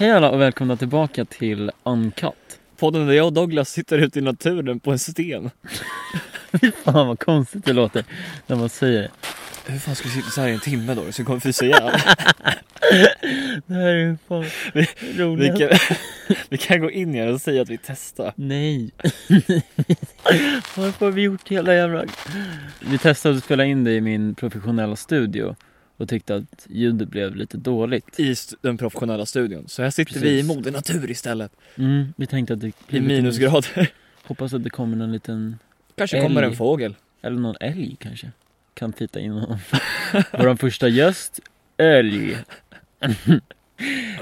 Hej alla och välkomna tillbaka till Uncut. Podden där jag och Douglas sitter ute i naturen på en sten. Fan vad konstigt det låter när man säger det. Hur fan ska vi sitta så här i en timme då? Så vi kommer frysa ihjäl. Det här är ju fan Vi roligt. kan, vi kan gå in i den och säga att vi testar. Nej. Varför har vi gjort hela jävla... Vi testade att spela in det i min professionella studio och tyckte att ljudet blev lite dåligt. I st- den professionella studion. Så här sitter vi i Precis. moder natur istället. Mm, vi tänkte att det I blev lite minusgrader. Hoppas att det kommer någon liten, Kanske kommer Älg. en fågel. eller någon älg kanske. Kan titta in honom. Vår första gäst, älg. Jag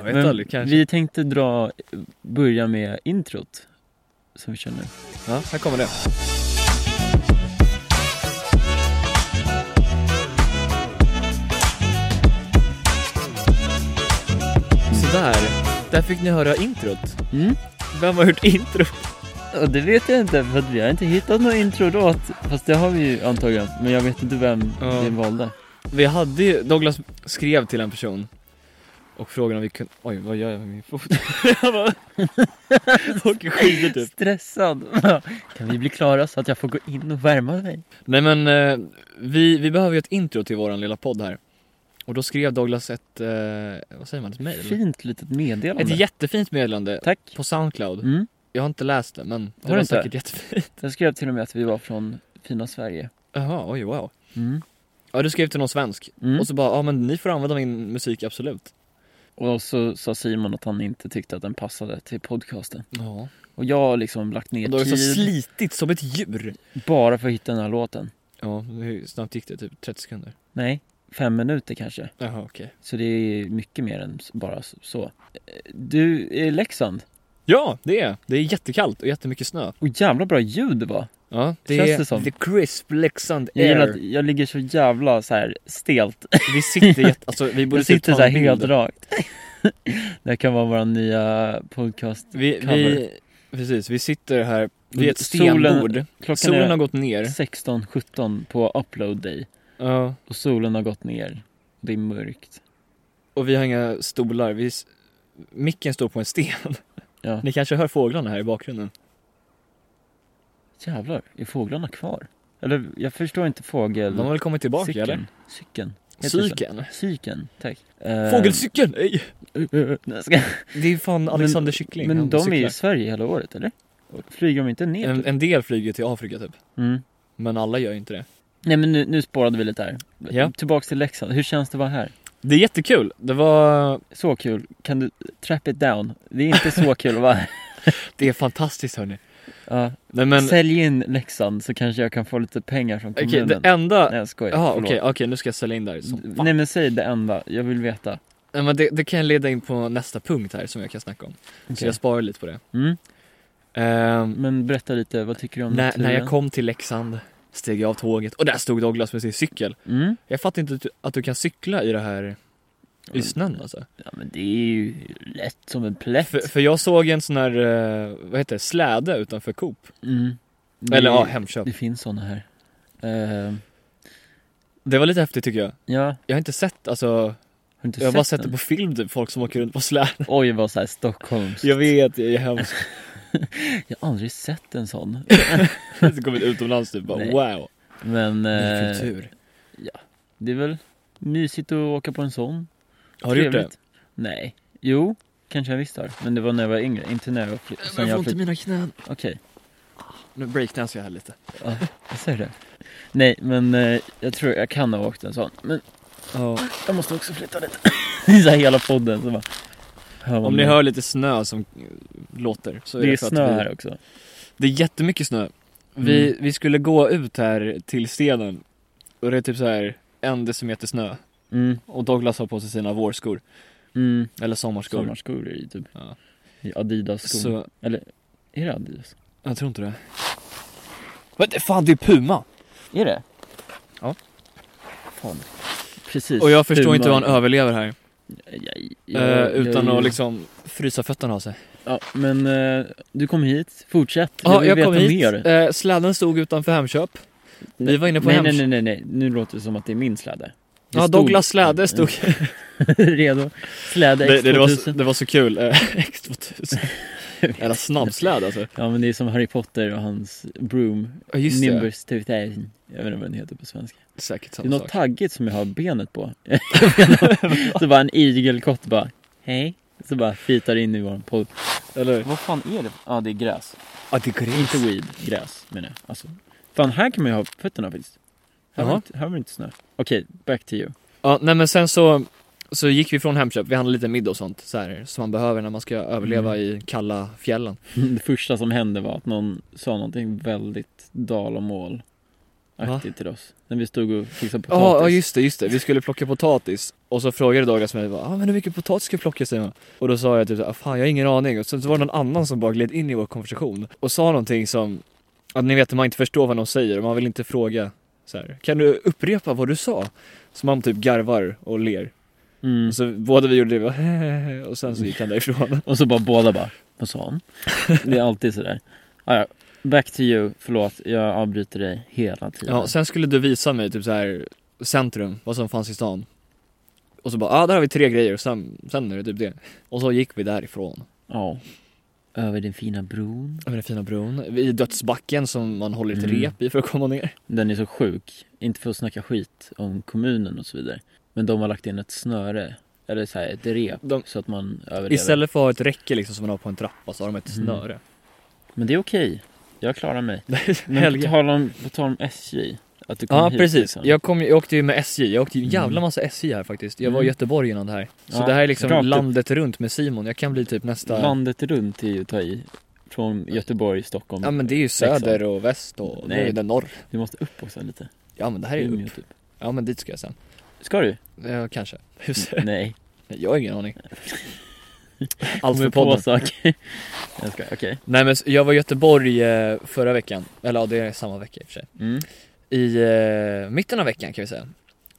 vet Men aldrig kanske. Vi tänkte dra, börja med introt som vi kör nu. Ja, här kommer det. Sådär. Där fick ni höra introt. Mm. Vem har hört intro? Och det vet jag inte för att vi har inte hittat något introlåt. Fast det har vi ju antagligen. Men jag vet inte vem Ja. vi valde. Vi hade ju, Douglas skrev till en person och frågade om vi kunde, oj vad gör jag med min fot? jag bara, åker skidor typ. Stressad. kan vi bli klara så att jag får gå in och värma mig? Nej men eh, vi, vi behöver ju ett intro till våran lilla podd här. Och då skrev Douglas ett, eh, vad säger man, ett mail? Fint litet meddelande. Ett jättefint meddelande Tack. på Soundcloud. Mm. Jag har inte läst det men det Har var, du inte? säkert jättefint. Den skrev till och med att vi var från fina Sverige. Jaha, oj wow. Mm. Ja du skrev till någon svensk Mm. och så bara, ja men ni får använda min musik absolut. Och så sa Simon att han inte tyckte att den passade till podcasten. Ja. Och jag har liksom lagt Och ner då har du så tid slitit som ett djur. bara för att hitta den här låten. Ja, hur snabbt gick det? Typ 30 sekunder? Nej, fem minuter kanske. Jaha okej. Så det är mycket mer än s- bara s- så. Eh, Du, är i Leksand. Ja, det är Det är jättekallt och jättemycket snö. Och jävla bra ljud det var. Ja, det Känns är det som. the crisp Leksand Jag gillar att air. jag ligger så jävla så här stelt. Vi sitter jätte, alltså vi borde Jag typ sitter ta så här en bild. helt rakt. det här kan vara vår nya podcast. Vi, vi, cover. precis, vi sitter här vid ett Solen- stenbord. Klockan Solen har är gått ner. 16.17 på upload day. Ja, Och solen har gått ner. Det är mörkt. och vi har inga stolar. Vi, s- micken står på en sten. Ja. Ni kanske hör fåglarna här i bakgrunden. Jävlar, är fåglarna kvar? Eller jag förstår inte De har fågel... väl kommit tillbaka eller? Cykeln. Cykeln. Heter det så? Cykeln? Cykeln, tack. Eh, Fågelcykeln? Nej! Nej, jag ska- Det är fan Alexander Kyckling. Men han de är ju cyklar. i Sverige hela året eller? Flyger de inte ner? en, typ? en del flyger till Afrika typ. Mm. Men alla gör ju inte det. Nej men nu, nu spårade vi lite här. Ja. Tillbaks till Leksand, hur känns det att vara här? Det är jättekul. Det var Så kul, kan du trap it down? Det är inte så kul att vara här. Det är fantastiskt hörni. Ja. Nej men, Sälj in Leksand så kanske jag kan få lite pengar från okej kommunen. det enda, Nej jag skojar, jaha förlåt. okej, okej nu ska jag sälja in där som fan. Nej men säg det enda, jag vill veta. Nej men det, det kan jag leda in på nästa punkt här som jag kan snacka om. Så Okej. jag sparar lite på det. Mm. Ehm, Men berätta lite, vad tycker du om när, naturen? när jag kom till Leksand steg jag av tåget och där stod Douglas med sin cykel. Mm. Jag fattar inte att du, att du kan cykla i det här i Mm. snön alltså. Ja men det är ju lätt som en plätt. För, för jag såg en sån här, eh, vad heter det, släde utanför Coop. Mm. Det- Eller ja, Hemköp. Det finns såna här. Eh, Det var lite häftigt tycker jag. ja, har Jag har inte sett, alltså, du inte jag har sett bara sett den? det på film typ, folk som åker runt på släden. Oj vad såhär Stockholms. Jag vet, jag är hemsk. Jag har aldrig sett en sån. Så kommer jag utomlands typ bara Nej. wow. Men eh, det är väl mysigt att åka på en sån. Har du gjort det? Nej. Jo, kanske jag visst har. Men det var när jag var yngre, inte när jag var fly- sen jag flyttade. mina knän. Okej, Nu breakdansar jag här lite. jag säger det. Nej men eh, jag tror jag kan ha åkt en sån. Men Ja. jag måste också flytta lite. det är så här hela podden så bara. hör man Om ni det. hör lite snö som eh, låter så är Det är för att snö vi- här Mm. också. Det är jättemycket snö. Vi, vi skulle gå ut här till stenen och det är typ så här en decimeter snö. Mm, Och Douglas har på sig sina vårskor. mm. Eller sommarskor. Sommarskor är det ju typ. Ja. I Adidas-skor. Så, Eller är det Adidas? jag tror inte det. Men det- fan det är Puma! Är det? Ja. Fan. Precis. Och jag förstår Puma. inte hur han överlever här. Jag- jag- eh, jag- utan jag- att liksom frysa fötterna av sig. Ja, men eh, du kom hit. Fortsätt. Ja, jag, vill kom veta hit. mer. Eh, släden stod utanför Hemköp. Vi var inne på nej, Hemköp. nej, nej, nej, nej. Nu låter det som att det är min släde. Det stod- Ja, Mm. Douglas släde stod Redo. Släde det, X2000. det, det, var, så- det var så kul, X2000 Jävla snabbsläde alltså Ja men det är som Harry Potter och hans broom. Ja just det, Nimbus 2000. Jag vet inte vad den heter på svenska. det är säkert Det är samma något sak taggigt som jag har benet på. Jag vet inte. så bara en igelkott bara, hej. Så bara fitar in i vår podd. Eller Vad fan är det? Ja det är gräs. Ja det går Inte weed, gräs menar jag. Alltså, fan här kan man ju ha fötterna faktiskt. Här var Jaha. det inte- här var det inte snö. Okej, back to you. Ja nej men sen så så gick vi från Hemköp, vi handlade lite middag och sånt så här, som man behöver när man ska Mm. överleva i kalla fjällen. Det första som hände var att någon sa någonting väldigt dalamål aktigt till oss. När vi stod och fixade potatis. Ja ja, just det, just det. Vi skulle plocka potatis och så frågade Douglas mig bara, ah, men hur mycket potatis ska jag plocka Simon? Och då sa jag typ så här, ah, fan jag har ingen aning. Och sen så var det någon annan som bara gled in i vår konversation och sa någonting som, att ni vet att man inte förstår vad någon säger och man vill inte fråga så här, kan du upprepa vad du sa? Så man typ garvar och ler. Mm. Och så båda vi gjorde det, vi bara, och sen så gick han därifrån. Och så bara båda bara, vad sa han? Det är alltid sådär. Ah, ja. Back to you, förlåt, jag avbryter dig hela tiden. Ja, sen skulle du visa mig typ så här centrum, vad som fanns i stan. Och så bara, ja ah, där har vi tre grejer och sen, sen är det typ det. Och så gick vi därifrån. Ja. Över den fina bron. Över den fina bron, i dödsbacken som man håller ett Mm. rep i för att komma ner. Den är så sjuk. Inte för att snacka skit om kommunen och så vidare. Men de har lagt in ett snöre, eller så här, ett rep, De- så att man överlever. Istället för att ha ett räcke liksom som man har på en trappa så har de ett Mm. snöre. Men det är okej. Jag klarar mig. Men på Helge. tal om, på tal om SJ. Att du kom Ja hit, precis, liksom. jag, kom, ju- jag åkte ju med SJ, jag åkte ju en jävla Mm. massa SJ här faktiskt. Jag var i Mm. Göteborg innan det här. Så Ja, det här är liksom rakt upp. landet runt med Simon, jag kan bli typ nästa... Landet runt är ju att ta i. Från Göteborg, Stockholm. Ja men det är ju söder och väst och Nej. nu är det norr. Du måste upp också lite. Ja men det här är ju Umeå, upp. typ. Ja men dit ska jag sen. Ska du? Ja, kanske. Mm. Nej. Jag har ingen aning. Allt Kommer för på podden. saker. Jag ska, okej. Nej men jag var i Göteborg eh, förra veckan, eller ja det är samma vecka i och för sig. Mm. I eh, mitten av veckan kan vi säga.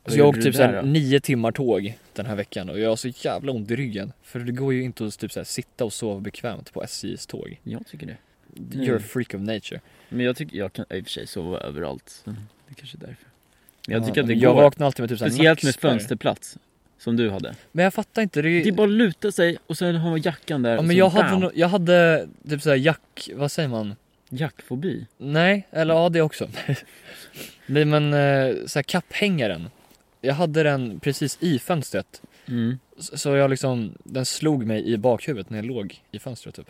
Vad Så jag gjorde åkte du typ där såhär då? nio timmar tåg den här veckan och jag har så jävla ont i ryggen. För det går ju inte att typ såhär sitta och sova bekvämt på SJs tåg. Jag tycker det. You're a freak of nature. Men jag tycker, jag kan i och för sig sova överallt. Så det kanske är därför. Men jag Ja, tycker att det Jag går. vaknar alltid med typ såhär Speciellt med nackspärr. fönsterplats. Som du hade. Men jag fattar inte, det är ju... Det är bara att luta sig och sen har man jackan där. ja, och men så jag bam. hade, no... jag hade typ såhär jack, vad säger man? Jackfobi. Nej, eller ja det också. Nej men eh, så här kapphängaren. Jag hade den precis i fönstret. Mm. S- Så jag liksom, den slog mig i bakhuvudet när jag låg i fönstret typ.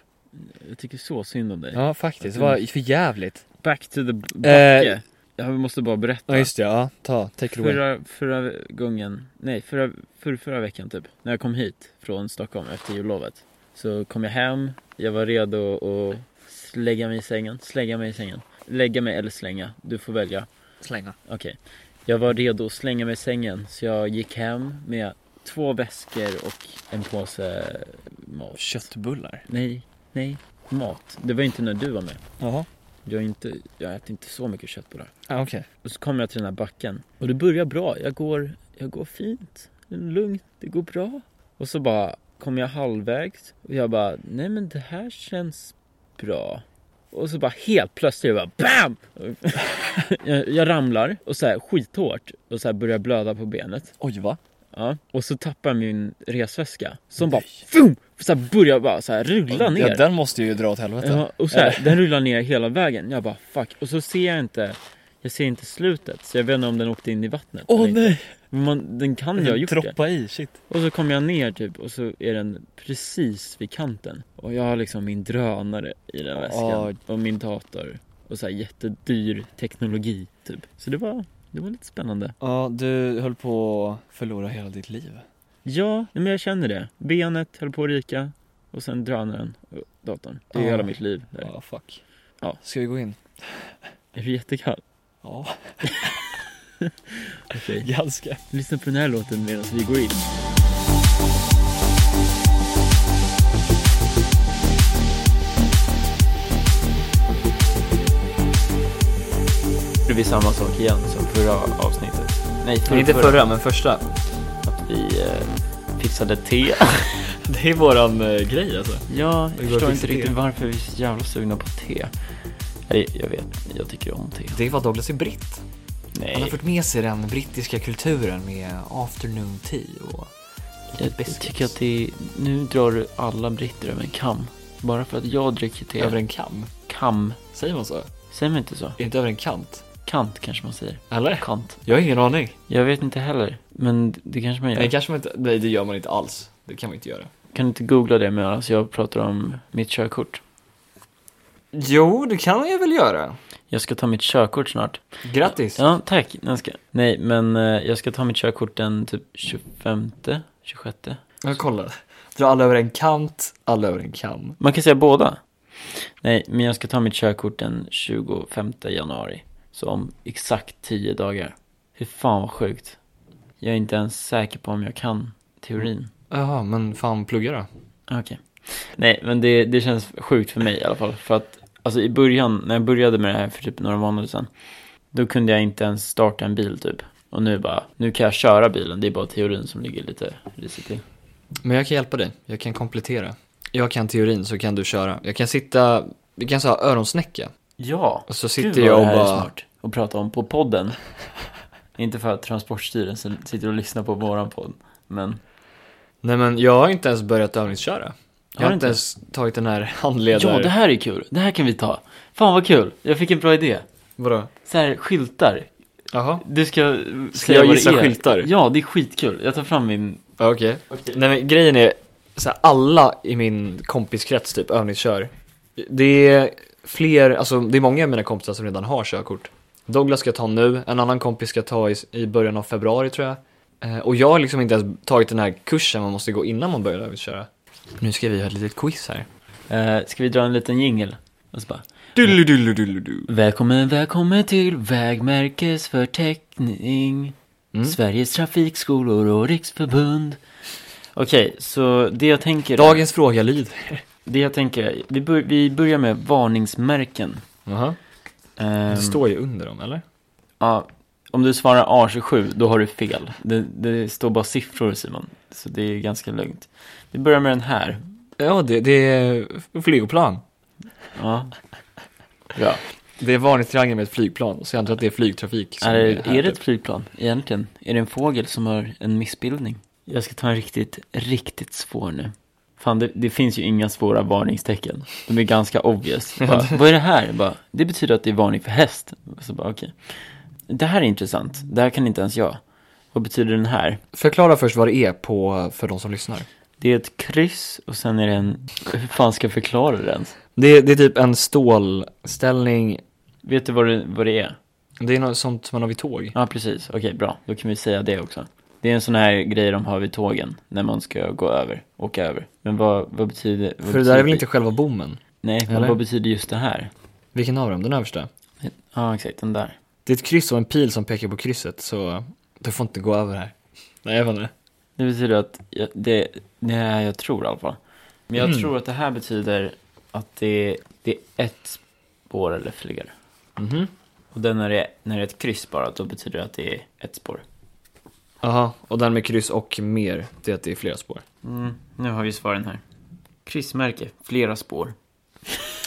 Jag tycker så synd om dig. Ja faktiskt, det var för jävligt. Back to the Eh, b- backe. Jag måste bara berätta. Ja just det, ja ta, take it away. Förra, förra gången, nej förra, för, förra veckan typ, när jag kom hit från Stockholm efter jullovet Så kom jag hem, jag var redo att slägga mig i sängen, slägga mig i sängen Lägga mig eller slänga, du får välja Slänga. Okej Jag var redo att slänga mig i sängen så jag gick hem med två väskor och en påse mat Köttbullar. Nej, nej, mat Det var inte när du var med Jaha. Jag, är inte, jag äter inte så mycket köttbullar Ja okej. och så kommer jag till den här backen. Och det börjar bra. Jag går, jag går fint. Det är Lugnt. Det går bra. Och så bara kommer jag halvvägs. Och jag bara, nej men det här känns bra. Och så bara helt plötsligt, jag bara BAM! jag, jag ramlar och så här skithårt. Och så här börjar blöda på benet. Oj va? Ja. Och så tappar jag min resväska. Som bara, Nej. FUM! Så här börjar bara så här rulla ner. Ja, den måste ju dra åt helvete. Ja, och så eh. här, den rullar ner hela vägen. Jag bara fuck. Och så ser jag inte, jag ser inte slutet. Så jag vet inte om den åkte in i vattnet. Åh eller inte. nej! Men man, den kan ju ha gjort det. Droppa i, shit. Och så kommer jag ner typ och så är den precis vid kanten. Och jag har liksom min drönare i den väskan. Ja. Och min dator. Och så här jättedyr teknologi typ. Så det var, det var lite spännande. Ja, du höll på att förlora hela ditt liv. Ja, nej, men jag känner det. Benet höll på att ryka. Och sen drönaren och datorn. Det är Ja. hela mitt liv. Där. Ja, fuck. Ja. Ska vi gå in? Är du jättekall? Ja, Okej. ganska. Lyssna på den här låten medan vi går in. Det blir samma sak igen som förra avsnittet. Nej, Men inte förra, men första. Att vi eh, fixade te. Det är våran eh, grej alltså. ja, går jag att förstår fixa inte riktigt te. varför vi är så jävla sugna på te. Eller jag vet, jag tycker om te. Det var Douglas i britt. Han har Nej, fört med sig den brittiska kulturen med afternoon tea och jag, jag tycker att det är, Nu drar du alla britter över en kam. Bara för att jag dricker te. Över en kam? kam. Säger man så? Säger man inte så? Inte över en kant? Kant kanske man säger. Eller? Kant. Jag har ingen aning. Jag vet inte heller. Men det kanske man gör. Nej, kanske man inte, nej, det gör man inte alls. Det kan man inte göra. Kan du inte googla det medan jag pratar om mitt körkort? Jo, det kan jag väl göra. Jag ska ta mitt körkort snart. Grattis! Ja, tack. Nej, jag ska. Nej, men eh, jag ska ta mitt körkort den typ 25, 26. Jag kollar. Dra alla över en kant, alla över en kam. Man kan säga båda. Nej, men jag ska ta mitt körkort den 25 januari. Så om exakt 10 dagar. Hur fan vad sjukt. Jag är inte ens säker på om jag kan teorin. Jaha, men fan plugga då. Okej. Nej, men det, det känns sjukt för mig i alla fall. För att alltså, i början, när jag började med det här för typ några månader sedan, då kunde jag inte ens starta en bil typ. Och nu bara, nu kan jag köra bilen, det är bara teorin som ligger lite risigt till. Men jag kan hjälpa dig. Jag kan komplettera. Jag kan teorin så kan du köra. Jag kan sitta, vi kan så här öronsnäcka. Ja, Och så sitter jag och bara- smart och pratar om på podden. inte för att Transportstyrelsen sitter och lyssnar på våran podd, men Nej men jag har inte ens börjat övningsköra. Jag Har har du inte inte? ens tagit den här handledaren. jo, det här är kul, det här kan vi ta. Fan vad kul, jag fick en bra idé. Vadå? Så här skyltar, Jaha. du ska Ska säga jag E? vad det gissa är. skyltar? Ja, det är skitkul. Jag tar fram min Ja, Okej. Nej men grejen är, så här, alla i min kompiskrets typ övningskör. Det är fler, alltså det är många av mina kompisar som redan har körkort. Douglas ska ta nu, en annan kompis ska ta i, i början av februari tror jag. Eh, och jag har liksom inte ens tagit den här kursen man måste gå innan man börjar övningsköra. Nu ska vi ha ett litet quiz här. Eh, ska vi dra en liten jingel? Och så bara, Dullu, dullu, dullu, du. välkommen, välkommen till vägmärkesförteckning, Mm. Sveriges trafikskolor och riksförbund. Okej, så det jag tänker, Dagens fråga lyder. det jag tänker, vi, bör, vi börjar med varningsmärken. Jaha. Ehm, Det står ju under dem eller? ja, om du svarar A27, då har du fel. Det, det står bara siffror Simon, så det är ganska lugnt. Vi börjar med den här. Ja, det, det är flygplan. Ja. Bra. Det är varningstriangel med ett flygplan, så jag antar att det är flygtrafik. som Är, här, är det ett typ. flygplan egentligen? Är det en fågel som har en missbildning? Jag ska ta en riktigt, riktigt svår nu. Fan, det, det finns ju inga svåra varningstecken. De är ganska obvious. Bara, vad är det här? Bara, det betyder att det är varning för häst. Så bara, okej. Det här är intressant. Det här kan inte ens jag. Vad betyder den här? Förklara först vad det är på, för de som lyssnar. Det är ett kryss och sen är det en... Hur fan ska jag förklara det ens? Det är, det är typ en stålställning, Vet du vad det, vad det är? det är något sånt som man har vid tåg. Ja, precis. Okej, bra. Då kan vi säga det också. Det är en sån här grej de har vid tågen när man ska gå över, åka över. Men vad, vad betyder... Vad för det betyder där är väl inte själva bommen? Nej, men eller? vad betyder just det här? Vilken av dem? Den översta? Ja, exakt, den där. Det är ett kryss och en pil som pekar på krysset, så du får inte gå över här. Nej, jag vet inte. Det betyder att, jag, det, det är jag tror i alla fall. Men Mm. jag tror att det här betyder att det, det är ett spår eller fler. Mhm. Och den när det, när det är ett kryss bara, då betyder det att det är ett spår. Jaha, och den med kryss och mer, det är att det är flera spår. Mm, nu har vi svaren här. Kryssmärke, flera spår.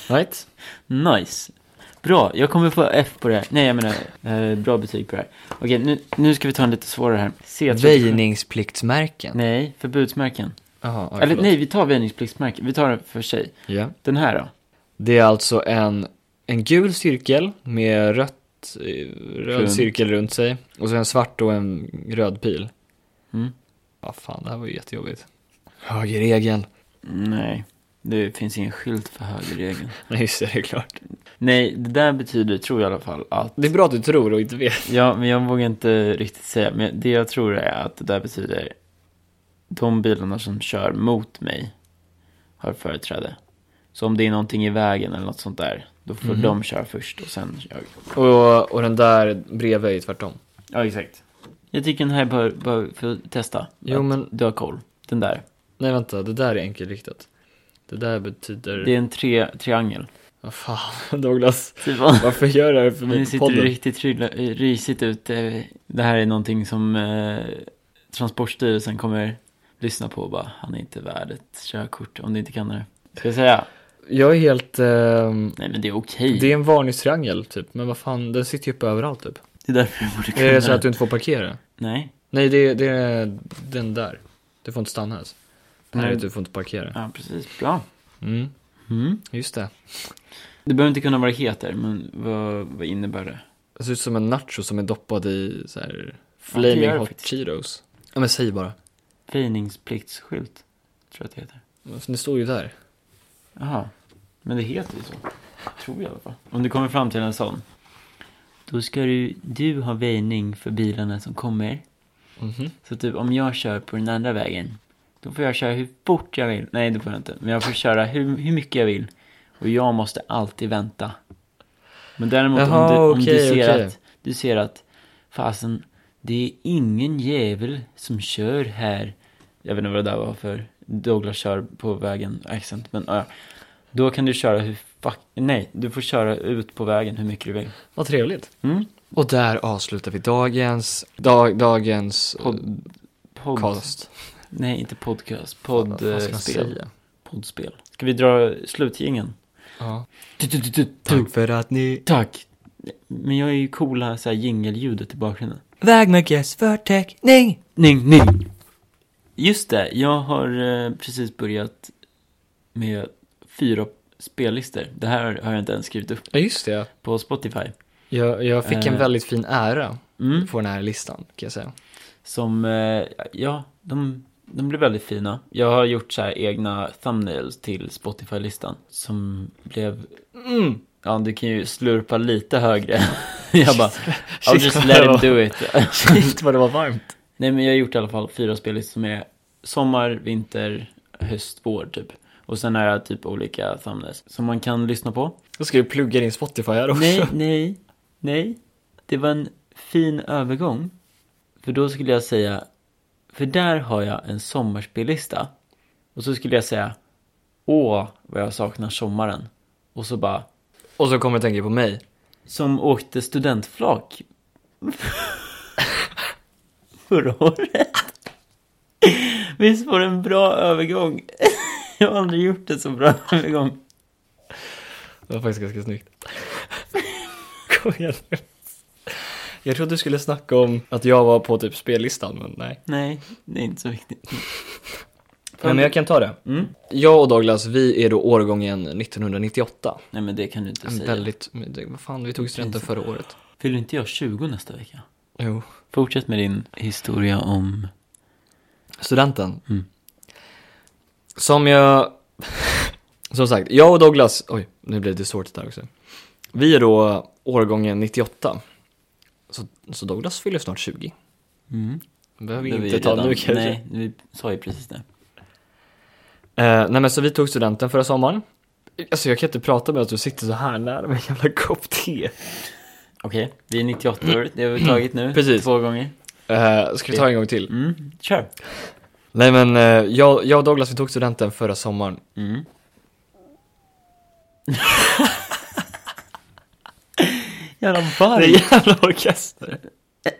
Right? Nice. Bra, jag kommer få F på det här. Nej, jag menar eh, bra betyg på det här. Okej, nu, nu ska vi ta en lite svårare här. C- Väjningspliktsmärken. Nej, förbudsmärken. Jaha, ja, Eller förlåt. nej, vi tar väjningspliktsmärken. Vi tar den för sig. Ja. Den här då? Det är alltså en, en gul cirkel med rött, eh, röd Runt. cirkel runt sig och så en svart och en röd pil. Mm. Ja, fan, det här var ju jättejobbigt. Högerregeln. Nej, det finns ingen skylt för högerregeln. Nej, just det, det är klart. nej, det där betyder, tror jag i alla fall, att... Det är bra att du tror och inte vet. Ja, men jag vågar inte riktigt säga. Men det jag tror är att det där betyder de bilarna som kör mot mig har företräde. Så om det är någonting i vägen eller något sånt där, då får Mhm. de köra först och sen jag. Och, och den där bredvid är ju tvärtom. Ja, exakt. Jag tycker den här bör, bör få testa. Jo, Att men- Mm. Du har koll. Den där. Nej, vänta, det där är enkelriktat. Det där betyder... Det är en tre, triangel. Vad fan, Douglas. Simon, Varför gör du det här för nu mig på sitter du podden? riktigt trylla, eh, risigt ut. Eh, Det här är någonting som eh, Transportstyrelsen kommer lyssna på och bara, han är inte värd ett körkort om du inte kan det här. Ska jag säga? Jag är helt... ehm, Nej men det är okej. Det är en varningstriangel, typ. Men vad fan, den sitter ju uppe överallt, typ. Det är därför du borde kunna. Är det så att du inte får parkera? Nej. Nej, det, det är den där. Du får inte stanna ens. Nej, Nej. du får inte parkera. Ja, precis. Bra. Mm, Mm. just det. Du behöver inte kunna vad det heter, men vad, vad innebär det? Det ser ut som en nacho som är doppad i så här Ja, det flaming gör det hot faktiskt. cheetos. Ja men säg bara. Väjningspliktsskylt, tror jag att det heter. Alltså, det står ju där. Jaha. Men det heter ju så. Tror jag i alla fall. Om du kommer fram till en sån. Då ska du, du ha väjning för bilarna som kommer. Mhm. Så typ om jag kör på den andra vägen, då får jag köra hur fort jag vill. Nej, det får jag inte. Men jag får köra hur, hur mycket jag vill. Och jag måste alltid vänta. Men däremot Jaha, om, du, om du okej, ser okej. att, du ser att, fasen, det är ingen jävel som kör här. Jag vet inte vad det där var för Douglas kör på vägen, accent, men ja. ja. Då kan du köra hur fuck, nej, du får köra ut på vägen hur mycket du vill. Vad trevligt. Mm? Och där avslutar vi dagens, dag, dagens eh, Pod, pod, podcast. nej inte podcast, Vad fan ska man poddspel. säga? poddspel. Ska vi dra slutgingen? Ja. Du, du, du, du, du. Tack för att ni... Tack. Men jag är ju coola så här jingelljudet i bakgrunden. Vägmärkes förteckning! Ning, ning. Just det, jag har eh, precis börjat med fyra spellistor. Det här har jag inte ens skrivit upp Ja just det, på Spotify. jag, jag fick en Eh. väldigt fin ära Mm. på den här listan kan jag säga. Som, eh, ja, de, de blev väldigt fina. Jag har gjort så här egna thumbnails till Spotify-listan. Som blev, Mm. ja du kan ju slurpa lite högre. jag bara, I'll just Shit, let vad det him var- do it. Shit vad det var varmt. Nej men jag har gjort i alla fall fyra spellistor som är sommar, vinter, höst, vår typ. Och sen har jag typ olika thumbnails som man kan lyssna på. Då ska du plugga din Spotify här också. Nej, nej, nej. Det var en fin övergång. För då skulle jag säga, för där har jag en sommarspellista. Och så skulle jag säga, åh vad jag saknar sommaren. Och så bara, Och så kommer jag tänka på mig. som åkte studentflak förra året. Visst var det en bra övergång? Jag har aldrig gjort en så bra övergång. Det var faktiskt ganska snyggt. Kom igen nu. Jag trodde du skulle snacka om att jag var på typ spellistan, men nej. Nej, det är inte så viktigt. Nej, men jag kan ta det. Mm. Jag och Douglas, vi är då årgången 1998. Nej men det kan du inte En säga. väldigt, men det- vad fan, vi tog studenten förra året. Fyller inte jag 20 nästa vecka? Jo. Fortsätt med din historia om... Studenten. Mm. Som jag... Som sagt, jag och Douglas... Oj, nu blev det svårt där också. Vi är då årgången 98. Så, så Douglas fyller snart 20. Mm. behöver Det vi var inte ju ta redan- nu kanske. Nej, vi sa ju precis det. Eh, nej men så vi tog studenten förra sommaren. Alltså jag kan inte prata med att du sitter så här nära med en jävla kopp te. Okej, vi är 98 år, det har vi tagit nu. Mm. Precis. Två gånger. Eh, ska vi ta en gång till? Mm, kör. Nej men eh, jag, jag och Douglas vi tog studenten förra sommaren. Mm. Jävla Det varg. är jävla orkester.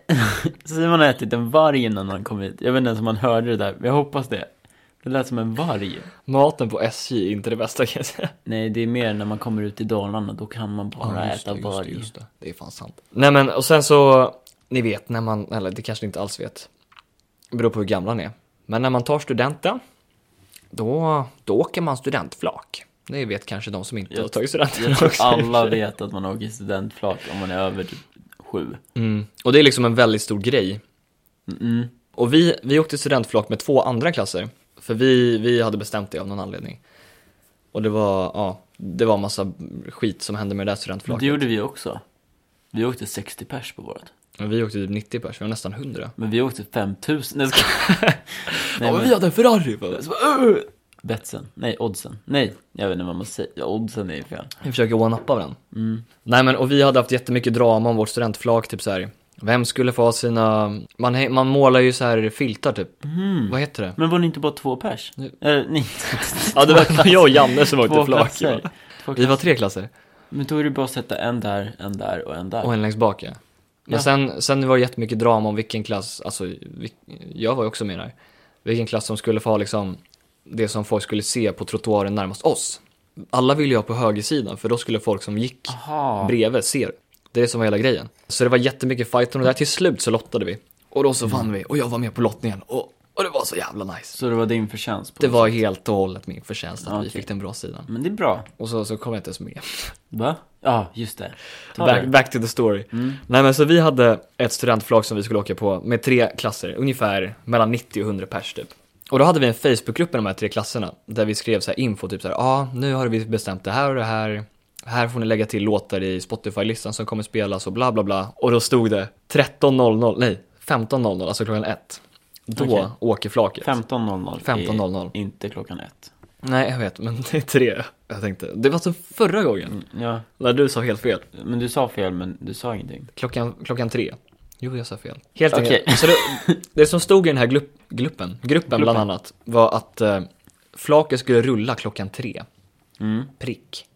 Simon har ätit en varg innan han kom hit. Jag vet inte ens om han hörde det där, men jag hoppas det. Det lät som en varg. Maten på SJ är inte det bästa kan jag säga. Nej, det är mer när man kommer ut i Dalarna, då kan man bara äta varg. det. är fan sant. Nej men och sen så, ni vet när man, eller det kanske ni inte alls vet. Det beror på hur gamla ni är. Men när man tar studenten, då, då åker man studentflak. Det vet kanske de som inte Jag- har tagit studenten Jag tror också. alla vet att man åker studentflak om man är över typ sju. Mm. Och det är liksom en väldigt stor grej. Mm. Och vi, vi åkte studentflak med två andra klasser. För vi, vi hade bestämt det av någon anledning. Och det var, ja, det var massa skit som hände med det där Men studentflaket. det gjorde vi också. Vi åkte 60 pers på vårt. Men Vi åkte typ 90 personer, nästan 100. Men vi åkte 5000. Nej, jag skojar. Nej, ja, men men- vi hade en Ferrari! bara. Så bara, "Ugh!" Betsen. Nej, oddsen. Nej, jag vet inte vad man säger. Ja, Oddsen är ju fel. Mm. Vi försöker one-uppa varandra. Nej men och vi hade haft jättemycket drama om vårt studentflak, typ så här. Vem skulle få ha sina, man, hä- man målar ju så här filtar typ. Vad heter det? Men var ni inte bara två pers? Nu- Eller, nej. Ja det var jag och Janne som Två åkte flak. klasser. Två Vi var klasser. tre klasser. Men då är det bara att sätta en där, en där och en där. Och en längst bak ja. Men Ja. sen, sen var det jättemycket drama om vilken klass, alltså vil, jag var ju också med där. Vilken klass som skulle få ha liksom det som folk skulle se på trottoaren närmast oss. Alla ville ju ha på högersidan för då skulle folk som gick Aha. bredvid se. Det är det som var hela grejen. Så det var jättemycket fight om det där. Till slut så lottade vi. Och då så vann vi och jag var med på lottningen och, och det var så jävla nice. Så det var din förtjänst? På Det var helt och hållet min förtjänst att Ja, vi okej. fick den bra sidan. Men det är bra. Och så, så kom jag inte ens med. Va? Ja, just det. Ta Back, det. Mm. back to the story. Nej men så vi hade ett studentflag som vi skulle åka på med tre klasser, ungefär mellan 90 och 100 pers typ. Och då hade vi en Facebookgrupp med de här tre klasserna där vi skrev så här info, typ så här, ja ah, nu har vi bestämt det här och det här. Här får ni lägga till låtar i Spotify-listan som kommer spelas och bla bla bla. Och då stod det 13.00, nej 15.00, alltså klockan ett. Då Okej. åker flaket. 15.00. är 15.00. Inte klockan ett. Nej jag vet, men det är tre. Jag tänkte, det var som förra gången Ja, när du sa helt fel. men du sa fel, men du sa ingenting. Klockan, klockan tre. Jo, jag sa fel. Helt Okej. enkelt. Så det, det som stod i den här glupp, gruppen, gruppen, bland annat, var att eh, flaket skulle rulla klockan tre. Mm. Prick.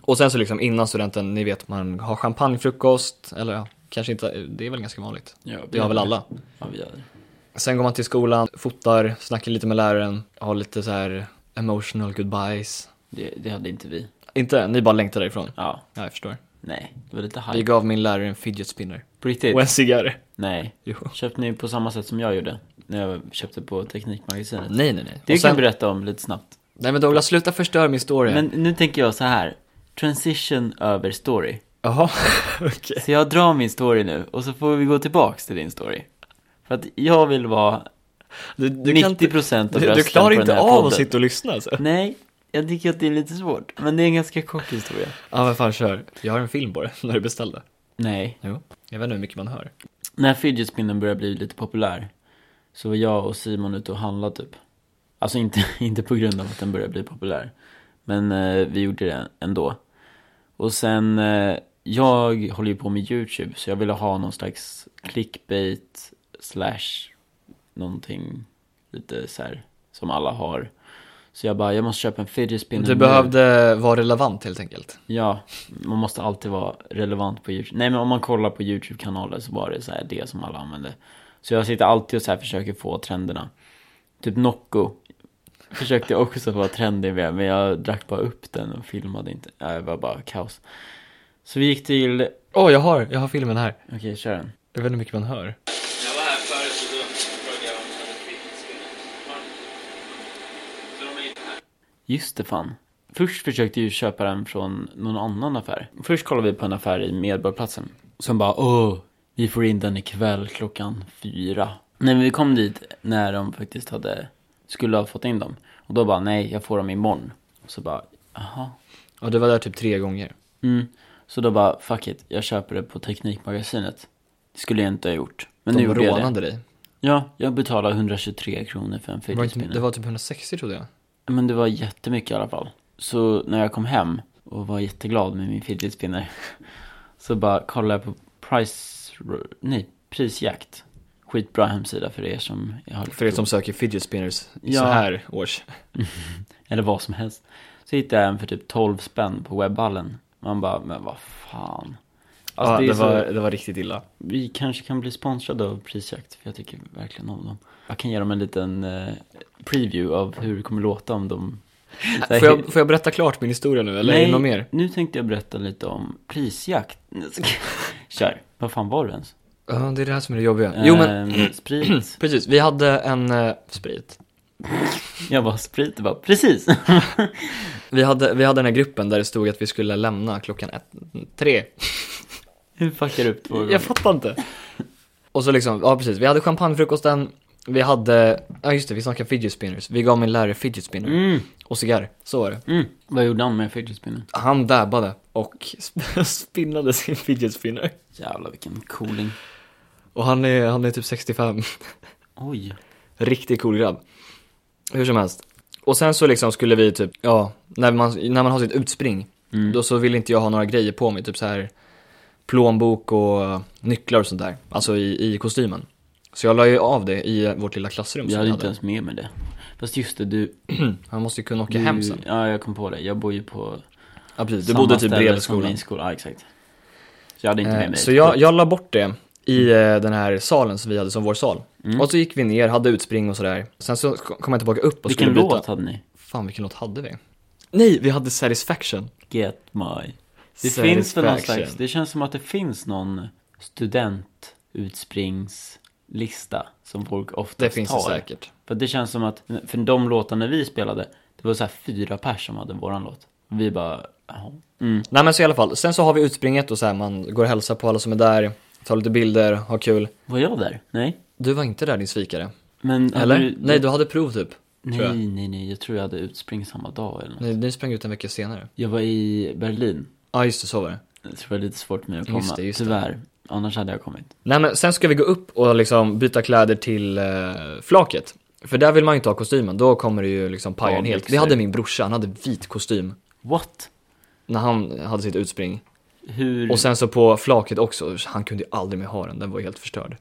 Och sen så liksom innan studenten, ni vet man har champagnefrukost, eller ja, kanske inte, det är väl ganska vanligt. Ja, Det har väl alla. Ja, vi gör det. Sen går man till skolan, fotar, snackar lite med läraren, har lite så här emotional goodbyes. det. Det hade inte vi. Inte, ni bara längtar därifrån. Ja, Ja, jag förstår. nej. Det var lite Vi hype. gav min lärare en fidget spinner. På riktigt? Och en cigarr. Nej. Jo. Köpte ni på samma sätt som jag gjorde? När jag köpte på Teknikmagasinet? Nej, nej, nej. Det Mm. Och kan sen- jag berätta om lite snabbt. Nej men Douglas, sluta förstöra min story. Men nu tänker jag så här. Transition över story. Jaha, okej. Så jag drar min story nu och så får vi gå tillbaks till din story. För att jag vill vara Du, 90% kan inte- av du, rösten du klarar på den inte här av podden. att sitta och lyssna alltså. Nej, jag tycker att det är lite svårt. Men det är en ganska kort historia. Ja men fan kör. Jag har en film på det, när du beställde. Nej. Jo. Jag vet inte hur mycket man hör. När fidget spinnen började bli lite populär så var jag och Simon ute och handlade typ. Alltså inte, inte på grund av att den började bli populär. Men eh, vi gjorde det ändå. Och sen, eh, jag håller ju på med YouTube så jag ville ha någon slags clickbait slash någonting lite så här som alla har. Så jag bara, jag måste köpa en fidget spinner Du nu. behövde vara relevant helt enkelt. Ja, man måste alltid vara relevant på Youtube. Nej men om man kollar på Youtube-kanaler så var det så här det som alla använde. Så jag sitter alltid och så här försöker få trenderna. Typ Nocco. Försökte jag också vara trendig med, men jag drack bara upp den och filmade inte. Nej, Det var bara kaos. Så vi gick till... Åh, jag har, jag har filmen här. Okej, kör den. Jag vet inte hur mycket man hör. Jag var här förut så då frågade jag om de hade fritidskvinnor. Så de är inte här. Just det fan. Först försökte jag ju köpa den från någon annan affär. Först kollade vi på en affär i Medborgarplatsen. Som bara åh, vi får in den ikväll klockan fyra. Nej men vi kom dit när de faktiskt hade, skulle ha fått in dem. Och då bara nej, jag får dem imorgon. Och så bara, jaha. Ja, du var där typ tre gånger. Mm. Så då bara fuck it, jag köper det på Teknikmagasinet. Det skulle jag inte ha gjort. Men De nu gjorde jag det. rånade dig. Ja, jag betalade 123 kronor för en Det var, inte, fidget det var typ 160 trodde jag. men det var jättemycket i alla fall. Så när jag kom hem och var jätteglad med min fidget spinner så bara kollade jag på price, nej, prisjakt. Skitbra hemsida för er som har lite För er som söker fidget spinners i Ja. så här års. eller vad som helst. Så hittade jag en för typ 12 spänn på webbhallen. Man bara, men vad fan. Alltså, ja, det det, är så- var, det var riktigt illa. Vi kanske kan bli sponsrade av Prisjakt, för jag tycker verkligen om dem. Jag kan ge dem en liten eh, preview av hur det kommer låta om de... Får jag, får jag berätta klart min historia nu, eller är det något mer? nu tänkte jag berätta lite om prisjakt. Nej, jag skojar. Kör. Vad fan var det ens? Ja, det är det här som är det jobbiga. Jo men, Ehm, sprit. precis. Vi hade en eh, sprit. Jag bara, sprit? Jag bara, precis. Vi hade, vi hade den här gruppen där det stod att vi skulle lämna klockan ett, tre. Hur fuckar du upp två gånger? Jag fattar inte. Och så liksom, ja precis, vi hade champagnefrukosten, vi hade, ja just det, vi snackade fidget spinners. Vi gav min lärare fidget spinner Mm, och cigarr, så var det. mm. Vad gjorde han med fidget spinner? Han dabbade och sp- spinnade sin fidget spinner. Jävlar vilken cooling. Och han är, han är typ 65. Oj. Riktigt cool grabb. Hur som helst. Och sen så liksom skulle vi typ, ja, när man, när man har sitt utspring, Mm. då så vill inte jag ha några grejer på mig, typ så här plånbok och nycklar och sånt där, alltså i, i kostymen. Så jag la ju av det i vårt lilla klassrum Jag som hade vi inte hade. ens med mig det. Fast just det, du... Han måste ju kunna åka du hem sen. Ja, jag kom på det. Jag bor ju på Ja precis, du samma bodde typ ställe bredvid som skolan. Min skola. Ja, exakt. Så jag hade inte med Eh, mig Så det. jag, jag la bort det i eh, den här salen som vi hade som vår sal. Och så gick vi ner, hade utspring och sådär. Sen så kom jag tillbaka upp och Vilken skulle byta. låt hade ni? Fan vilken låt hade vi? Nej, vi hade Satisfaction. Get my... Det Satisfaction. finns väl någon slags, det känns som att det finns någon studentutspringslista som folk oftast Det finns det tar. säkert. För det känns som att, för de låtarna vi spelade, det var så här fyra pers som hade våran låt. Vi bara, jaha. Mm. Nej men så i alla fall, sen så har vi utspringet och så här, man går och hälsar på alla som är där, tar lite bilder, har kul. Var jag där? Nej. Du var inte där din svikare. Men hade Eller? Du, Nej, du hade prov typ. nej, tror jag. nej, nej. Jag tror jag hade utspring samma dag eller något. Nej, ni sprang ut en vecka senare. Jag var i Berlin. Ja, just det, så var det. Jag tror det var lite svårt för mig att komma. Just det, just det. Tyvärr. Annars hade jag kommit. Nej men sen ska vi gå upp och liksom byta kläder till eh, flaket. För där vill man ju inte ha kostymen, då kommer det ju liksom paja en Ja, helt. mixer. Det hade min brorsa, han hade vit kostym What? när han hade sitt utspring. Hur? Och sen så på flaket också, han kunde ju aldrig mer ha den, den var ju helt förstörd.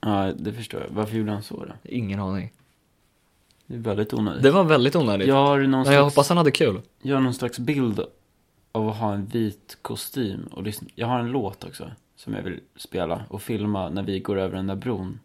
Ja, det förstår jag. Varför gjorde han så då? Ingen aning. Det är väldigt onödigt. Det var väldigt onödigt. Jag har någon Men jag slags hoppas han hade kul. Jag har någon slags bild av att ha en vit kostym och lyssna. Jag har en låt också som jag vill spela och filma när vi går över den där bron.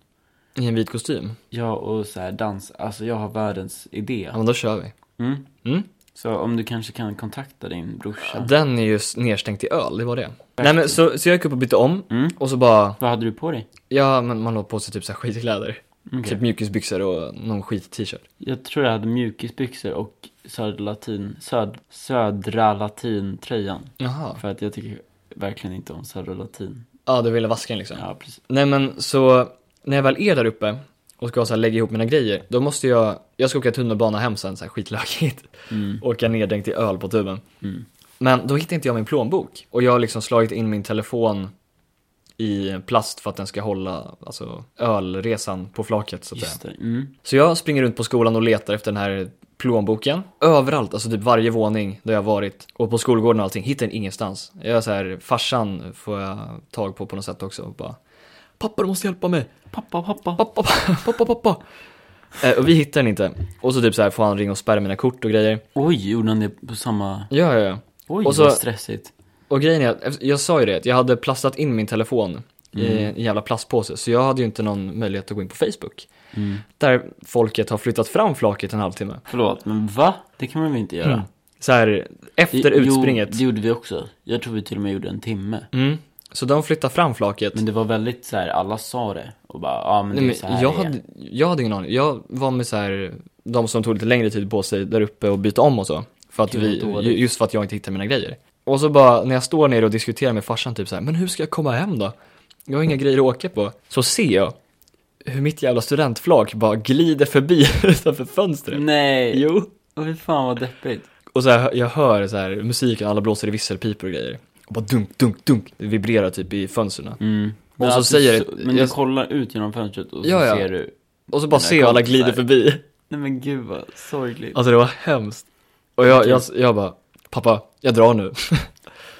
I en vit kostym. Jag och så här dans, alltså jag har världens idé. Ja men då kör vi. Mm. Mm. Så om du kanske kan kontakta din brorsa. Den är ju s- nerstänkt i öl, det var det. Nej men så, så jag gick upp och bytte om Mm. och så bara, Vad hade du på dig? ja men man la på sig typ så här skitkläder. Okej. Typ mjukisbyxor och någon skit-t-shirt. Jag tror jag hade mjukisbyxor och södra latin, söd, södra latin tröjan. Jaha. För att jag tycker verkligen inte om södra latin. Ja, du ville vaska den liksom. Ja, precis. Nej men så, när jag väl är där uppe och ska så här lägga ihop mina grejer, då måste jag, jag ska åka tunnelbana hem sen så här skitlökigt. Mm. Åka neddänkt i öl på tuben. Mm. Men då hittade inte jag min plånbok och jag har liksom slagit in min telefon i plast för att den ska hålla alltså, ölresan på flaket så att säga. Just det. Mm. Så jag springer runt på skolan och letar efter den här plånboken. Överallt, alltså typ varje våning där jag varit. Och på skolgården och allting, hittar den ingenstans. Jag är så här, farsan får jag tag på på något sätt också och bara Pappa du måste hjälpa mig! Pappa, pappa. Pappa, pappa, pappa, pappa! Eh, och vi hittar den inte. Och så typ så här får han ringa och spärra mina kort och grejer. Oj, gjorde han det på samma... Ja, ja, ja. Oj, Och så- vad stressigt. Och grejen är, att- jag sa ju det, att jag hade plastat in min telefon i en jävla plastpåse. Så jag hade ju inte någon möjlighet att gå in på Facebook. Mm. Där folket har flyttat fram flaket en halvtimme. Förlåt, men va? Det kan man väl inte göra? Mm. Så här, efter Jo, utspringet. det gjorde vi också. Jag tror vi till och med gjorde en timme. Mm. Så de flyttar fram flaket. Men det var väldigt så här, alla sa det. Och bara, ja ah, men det är Nej, så men här jag, det är. hade, jag hade ingen aning. Jag var med så här, de som tog lite längre tid på sig där uppe och byta om och så. För att Gud, vi, vad dåligt. ju- just för att jag inte hittade mina grejer. Och så bara, när jag står nere och diskuterar med farsan typ så här, men hur ska jag komma hem då? Jag har inga grejer att åka på. Så ser jag hur mitt jävla studentflak bara glider förbi utanför fönstret. Mm. Nej, Jo. och fy fan vad deppigt. Och så här, jag hör så här, musiken, alla blåser i visselpipor och grejer. Och bara dunk, dunk, dunk. Det vibrerar typ i fönstren. Mm. Och så att säger du, det- Men jag- du kollar ut genom fönstret och så Ja, ja. ser du. Och så bara Mina ser jag alla kompisar. glider förbi. Nej men gud vad sorgligt. Alltså det var hemskt. Och jag, jag, jag bara, pappa, jag drar nu.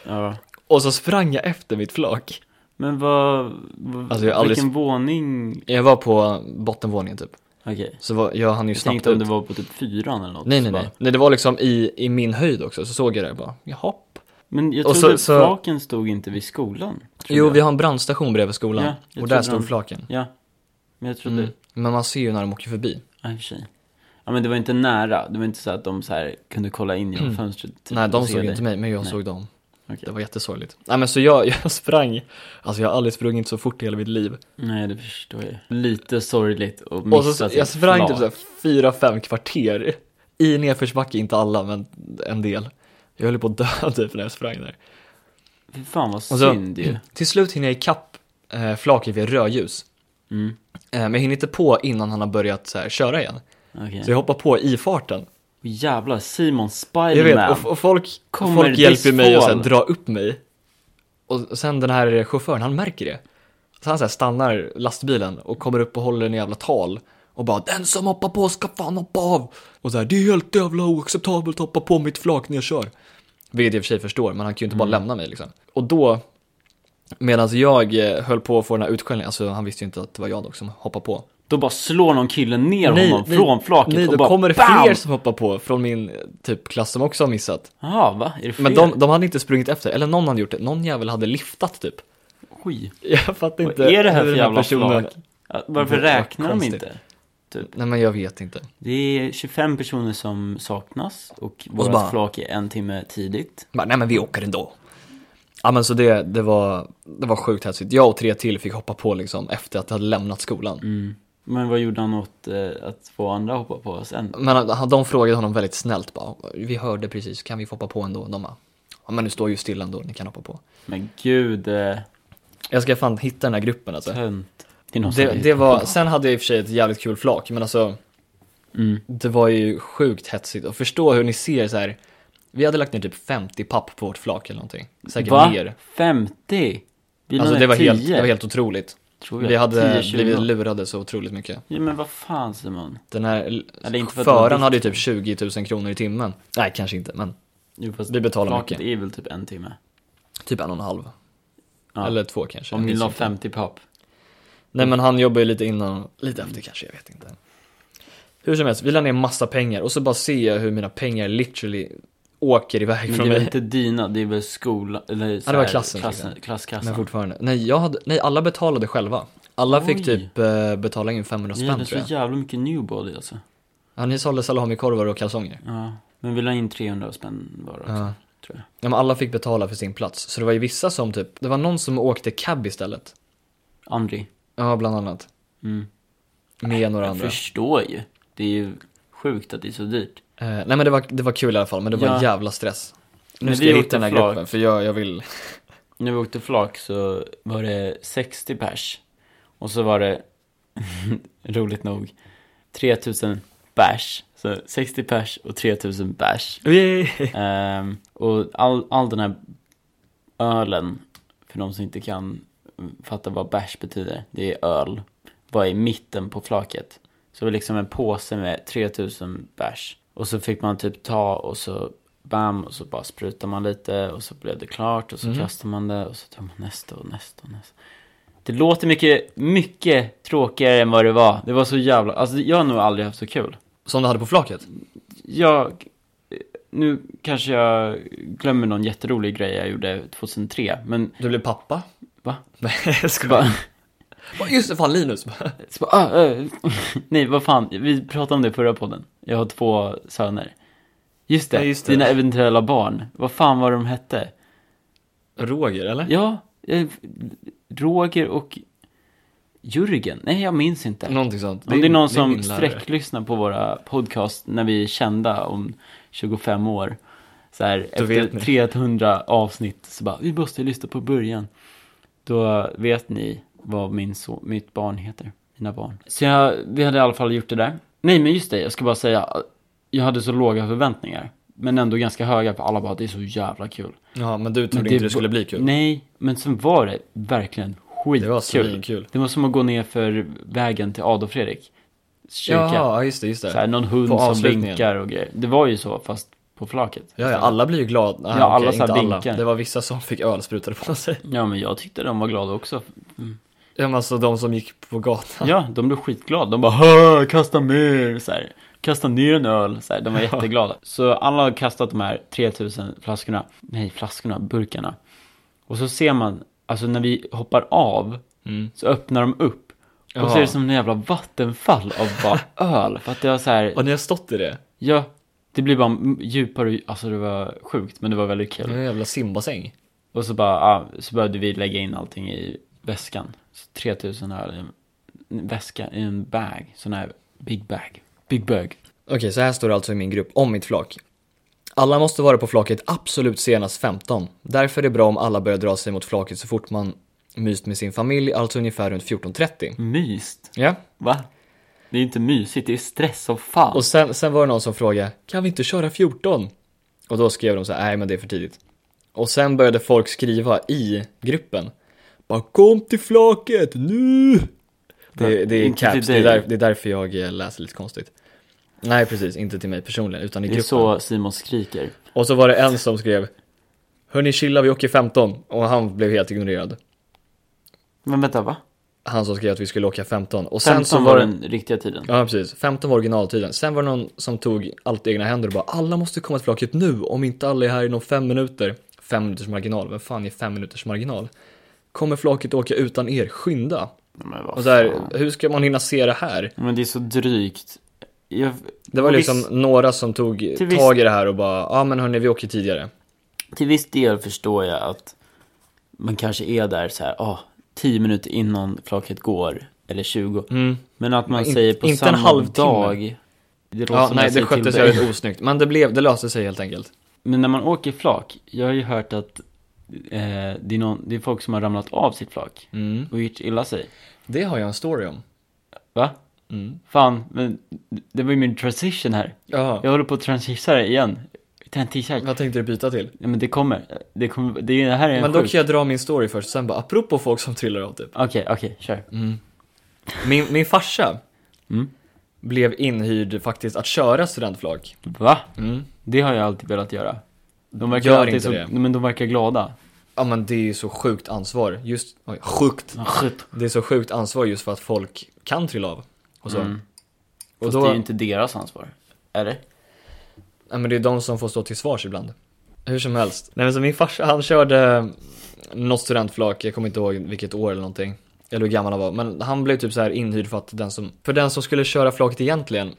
Ja. Och så sprang jag efter mitt flak. Men vad, vad Alltså, jag har aldrig- vilken våning? Jag var på bottenvåningen typ. Okej. Så var, jag hann ju Jag snabbt tänkte om ut. det var på typ fyran eller något. Nej, så nej, bara- nej. Nej, det var liksom i, i min höjd också, så såg jag det bara, jaha. Men jag Och trodde så- att så- flaken stod inte vid skolan. trodde Jo, jag. vi har en brandstation bredvid skolan. Ja, jag och där trodde stod de- flaken. Ja, men jag trodde... Typ, Mm. Men man ser ju när de åker förbi. Ja, i och för sig. Ja, men det var inte nära. Det var inte så att de så här kunde kolla in genom fönstret. typ, Mm. nej, de och se såg ju dig. inte mig, men jag Nej. såg dem. Okej. Det var jättesorgligt. Nej, men så jag, jag sprang. Alltså jag har aldrig sprungit så fort i hela mitt liv. Nej, det förstår jag. Lite sorgligt att missa Och så, sitt jag sprang typ flak. såhär fyra, fem kvarter i nedförsbacke, inte alla men en del. Jag höll på att dö typ när jag sprang där. Fy fan vad så- synd ju. Till slut hinner jag ikapp eh, flaket vid rödljus. Mm. Eh, men jag hinner inte på innan han har börjat så här, köra igen. Okej. Så jag hoppar på i farten. Och Jävlar, Simon Jag Spiderman. vet, och, och folk, Kommer folk this hjälper mig och så här, fall? dra upp mig. Och och sen den här chauffören, han märker det. Så han så här, stannar lastbilen och kommer upp och håller en jävla tal. Och bara den som hoppar på ska fan hoppa av. Och så här, det är helt jävla oacceptabelt att hoppa på mitt flak när jag kör. Vilket jag i och för sig förstår, men han kan ju inte bara lämna mig liksom. Och då, medan jag eh, höll på att få den här utskällningen, alltså han visste ju inte att det var jag dock som hoppade på. Då bara slår någon kille ner honom från flaket nej, då och bara kommer det BAM! fler som hoppar på från min eh, typ klass som också har missat. Jaha, va? Är det fler? Men de, de hade inte sprungit efter, eller någon hade gjort det, någon jävel hade liftat typ. Oj. Jag fattar Vad inte. är det här hur för den jävla personen- flak? Ja, Varför Det var räknar de konstigt. inte? Nej men jag vet inte. Det är 25 personer som saknas och vårt bara- flak är en timme tidigt. Bara, nej men vi åker ändå. Ja men så det, det, var, det var sjukt hetsigt. Jag och tre till fick hoppa på liksom efter att jag hade lämnat skolan. Mm. Men vad gjorde han åt eh, att få andra hoppa på sen? Men eh, han- han- de frågade honom väldigt snällt bara, vi hörde precis, kan vi få hoppa på ändå? De bara, ja men du står ju stilla ändå, ni kan hoppa på. Men gud, eh, Jag ska fan hitta den här gruppen alltså. tönt. Det är någon Det, som- det var, sen hade jag i och för sig ett jävligt kul flak, men alltså Mm. det var ju sjukt hetsigt. Och förstå hur ni ser så här. vi hade lagt ner typ 50 papp på vårt flak eller någonting. Säkert Va? mer. 50? Bilen Alltså är det var, 10, helt, det var helt otroligt. tror jag. Vi hade 10, blivit 20. lurade så otroligt mycket. Ja, men vad fan Simon? Den här Eller inte för att det var föraren ditt. hade ju typ 20 000 kronor i timmen. Nej kanske inte, men Jo, fast Vi betalar flaket mycket. är väl typ en timme? typ en och en halv. Ja. Eller två kanske. Om ni Jag minns la inte. 50 papp. Nej men han jobbar ju lite innan, lite efter kanske, jag vet inte. Hur som helst, vi la ner massa pengar och så bara ser jag hur mina pengar literally åker iväg Men det från är väl mig. inte dina, det är väl skolan, eller så det var här, klassen, klassen tycker Klasskassan. Men fortfarande. Nej, jag hade, nej alla betalade själva. Alla Oj. fick typ eh, betala in 500 Ni spänn hade tror så jag. jävla mycket newbody alltså. Ja, ni sålde salamikorvar och kalsonger. Ja. Men vi la in 300 spänn var också, Ja. tror jag. Ja, men alla fick betala för sin plats. Så det var ju vissa som typ, det var någon som åkte cab istället. Andri. Ja, bland annat. Mm. Med några Jag andra. förstår ju. Det är ju sjukt att det är så dyrt. Eh, nej men det var, det var kul i alla fall, men det var Ja. jävla stress. Nu Men ska vi jag åkte hitta den här flak. gruppen, för jag, jag vill... När vi åkte flak så var det 60 pers. Och så var det, roligt nog, 3000 bärs. Så 60 pers och 3000 bärs. Ehm, och all, all den här ölen, för de som inte kan fatta vad bärs betyder, det är öl, var i mitten på flaket. Så det var liksom en påse med 3000 bärs. Och så fick man typ ta och så bam och så bara sprutar man lite och så blev det klart och så Mm. kastar man det och så tar man nästa och nästa och nästa. Det låter mycket, mycket tråkigare än vad det var. Det var så jävla, alltså jag har nog aldrig haft så kul. Som du hade på flaket? Jag, nu kanske jag glömmer någon jätterolig grej jag gjorde 2003, men Du blev pappa? Va? Nej, jag så skojar. bara, Bara, Just det, fan Linus. så bara ah, eh, nej vad fan, vi pratade om det i förra podden. Jag har två söner. Just det, Ja, just det. dina eventuella barn. Vad fan var de hette? Roger, eller? Ja, eh, Roger och Jürgen. Nej, jag minns inte. Någonting sånt. Om det är någon som min lärare. sträcklyssnar på våra podcast när vi är kända om 25 år, så här, Då vet efter ni. 300 avsnitt, så bara, vi måste lyssna på början. Då vet ni vad min so- mitt barn heter, mina barn. Så jag, vi hade i alla fall gjort det där. Nej, men just det, jag ska bara säga, jag hade så låga förväntningar, men ändå ganska höga, för alla bara, det är så jävla kul. Ja, men du trodde Men inte det var- skulle bli kul. Nej, men sen var det verkligen skitkul. det var svinkul. Det var som att gå ner för vägen till Adolf Fredrik kyrka. Ja, just det, just det. så här, någon hund På som avslutningen. vinkar och grejer. Det var ju så, fast på flaket. ja, ja, alla blir ju glada. Nej, Ja, alla okej, så här inte alla. vinkar. Det var vissa som fick öl sprutade på sig. Ja, men jag tyckte de var glada också. Ja, men alltså de som gick på gatan. Ja, de blev skitglada. De bara "Hö, kasta mer! Så här, kasta ner en öl! Så här, de var jätteglada. Så alla har kastat de här 3000 flaskorna, nej flaskorna, burkarna. Och så ser man, alltså när vi hoppar av Mm. så öppnar de upp. Och så Ja. är det som en jävla vattenfall av bara öl. För att det var så här, Och ni har stått i det? ja, det blir bara m- djupare, och dju- alltså det var sjukt men det var väldigt Det kul. var en jävla simbassäng. Och så bara, ja, så började vi lägga in allting i väskan. Så 3000 öl i en väska, i en bag, sån här big bag. Big bag. Okej, så här står det alltså i min grupp om mitt flak. Alla måste vara på flaket absolut senast 15. Därför är det bra om alla börjar dra sig mot flaket så fort man myst med sin familj, alltså ungefär runt 14.30. Myst. Ja, Va? Det är inte mysigt, det är stress som fan. och sen, sen var det någon som frågade, kan vi inte köra 14? Och då skrev de så här, nej men det är för tidigt. Och sen började folk skriva i gruppen, bara kom till flaket nu! Det, det är Inte till caps, det dig. är, där, det är därför jag eh, läser lite konstigt. Nej precis, inte till mig personligen utan i det är gruppen. så Simon skriker. Och så var det en som skrev Hörni chilla vi åker 15 och han blev helt ignorerad Men vänta, va? Han som skrev att vi skulle åka 15 och sen 15 så var var det den riktiga tiden. Ja precis, 15 var originaltiden Sen var det någon som tog allt i egna händer och bara Alla måste komma till flaket nu om inte alla är här inom 5 minuter 5 minuters marginal, vem fan är 5 minuters marginal? Kommer flaket åka utan er, skynda! Men vad Och så här, fan. hur ska man hinna se det här? Men det är så drygt. Jag, Det var Och liksom visst- några som tog viss- tag i det här och bara Ja men hörni vi åker tidigare till viss del förstår jag att man kanske är där så här, ah, 10 minuter innan flaket går, eller 20. Mm. Men att man In- säger på inte en samma halvtimme. dag. Det låter Ja, som nej jag det säger till skötte sig dig. väldigt osnyggt. Men det, blev, det löste sig helt enkelt. Men när man åker flak, jag har ju hört att eh, det, är någon, det är folk som har ramlat av sitt flak Mm. och gjort illa sig. Det har jag en story om. Va? Mm. Fan, men det var ju min transition här. Jaha, Jag håller på att transishera igen. Utan en t-shirt. vad tänkte du byta till? Nej men det kommer. Det, kommer, det, är- det här är en Men då sjuk. kan jag dra min story först, sen bara apropå folk som trillar av typ. Okej, okej, kör. Min, min farsa Mm. blev inhyrd faktiskt att köra studentflak. Va? Mm. Det har jag alltid velat göra. De verkar Gör alltid inte så, det. Men de verkar glada. Ja men det är ju så sjukt ansvar. Just, oj, sjukt. Skjut. Det är så sjukt ansvar just för att folk kan trilla av. Och så. Mm. Och Fast då, det är det ju inte deras ansvar. Eller? nej, men det är de som får stå till svars ibland. Hur som helst. Nej men så min farsa, han körde något studentflak, jag kommer inte ihåg vilket år eller någonting. Eller hur gammal han var. Men han blev typ så här inhyrd för att den som, för den som skulle köra flaket egentligen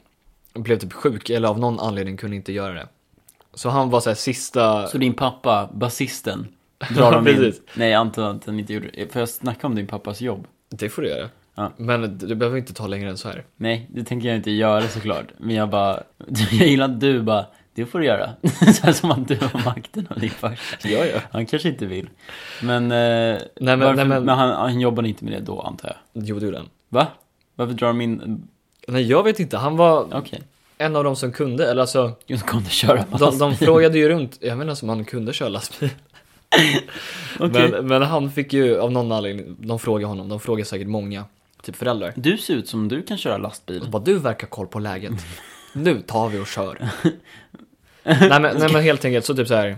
blev typ sjuk eller av någon anledning kunde inte göra det. Så han var så här sista... Så din pappa, basisten, drar dem in? Precis. Nej, jag antar att han inte gjorde det. Får jag snacka om din pappas jobb? Det får du göra. Ja. Men du behöver inte ta längre än så här. Nej, det tänker jag inte göra såklart. Men jag bara, jag gillar att du bara, det får du göra. Så här som att du har makten av din farsa. Ja, ja. Han kanske inte vill. Men, eh, men- varför, nej, men- men... han, han jobbade inte med det då antar jag. Jo, det gjorde han. Va? Varför drar de in, Nej, jag vet inte. Han var okej. en av de som kunde, eller alltså, Okay. Kom du köra på de, de lastbil? frågade ju runt. Jag menar som han kunde köra lastbil. Okej. Men, men han fick ju av någon anledning, de frågade honom, de frågade säkert många, typ föräldrar. Du ser ut som du kan köra lastbil. De bara, du verkar koll på läget. Nu tar vi och kör. nej, men, nej men helt enkelt så typ så här.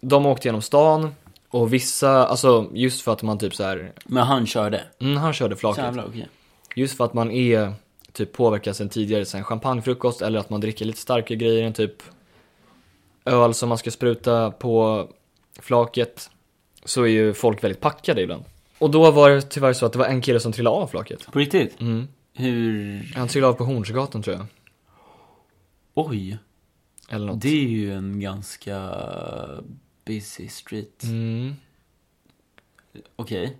De åkte genom stan och vissa, alltså just för att man typ så här, Men han körde. mm, han körde flaket. Jävlar, okej. Just för att man är typ påverkad sen tidigare, sen champagnefrukost eller att man dricker lite starkare grejer än typ öl som man ska spruta på flaket så är ju folk väldigt packade ibland. Och då var det tyvärr så att det var en kille som trillade av flaket. På riktigt? Mm. Hur? Han trillade av på Hornsgatan tror jag. Oj. Eller något. Det är ju en ganska busy street. Mm. Okej.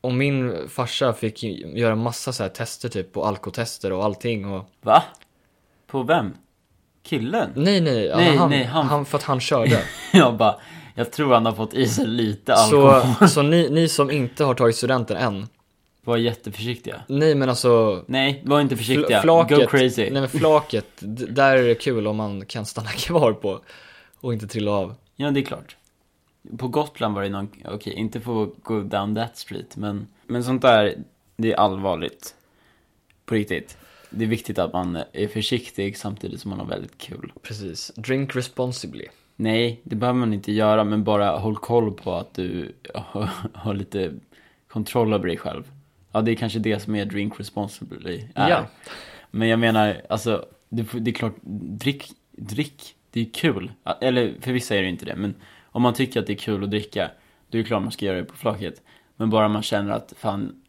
Och min farsa fick ju göra massa så här tester typ och alkotester och allting och Va? På vem? Killen? Nej nej, ja, Nej, han, nej, han... han- för att han körde. Jag bara, jag tror han har fått i sig lite alkohol. så Så... så ni, ni som inte har tagit studenten än, Var jätteförsiktiga. nej men alltså Nej, var inte försiktiga. Fl- flaket, Go crazy. Nej men flaket, d- där är det kul om man kan stanna kvar på och inte trilla av. Ja, det är klart. På Gotland var det någon, okej, inte få go down that street, men, men sånt där, det är allvarligt. På riktigt. Det är viktigt att man är försiktig samtidigt som man har väldigt kul. Precis. Drink responsibly. Nej, det behöver man inte göra, men bara håll koll på att du har, har lite kontroll över dig själv. Ja, det är kanske det som är drink responsibly. Är. Ja. Men jag menar, alltså, det, får- det är klart, drick, drick, det är kul. Ja, Eller för vissa är det inte det, men om man tycker att det är kul att dricka, då är det klart man ska göra det på flaket. Men bara man känner att, fan,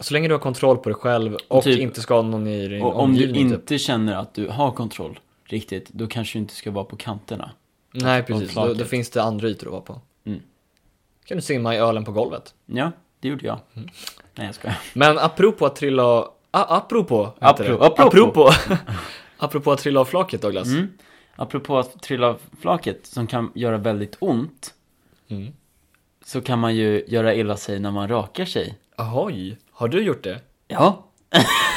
Så länge du har kontroll på dig själv och Typ- inte skadar någon i din och om du omgivning inte typ. känner att du har kontroll riktigt, då kanske du inte ska vara på kanterna. Nej precis, då, då flaket. finns det andra ytor att vara på. Mm. Kan du simma i ölen på golvet. Ja, det gjorde jag. Mm. Nej, jag skojar. Men apropå att trilla av, ah, apropå, heter det. Apro- apropå. apropå. apropå att trilla av flaket Douglas. Mm. Apropå att trilla av flaket, som kan göra väldigt ont, Mm. så kan man ju göra illa sig när man rakar sig. Ahoj, har du gjort det? Ja.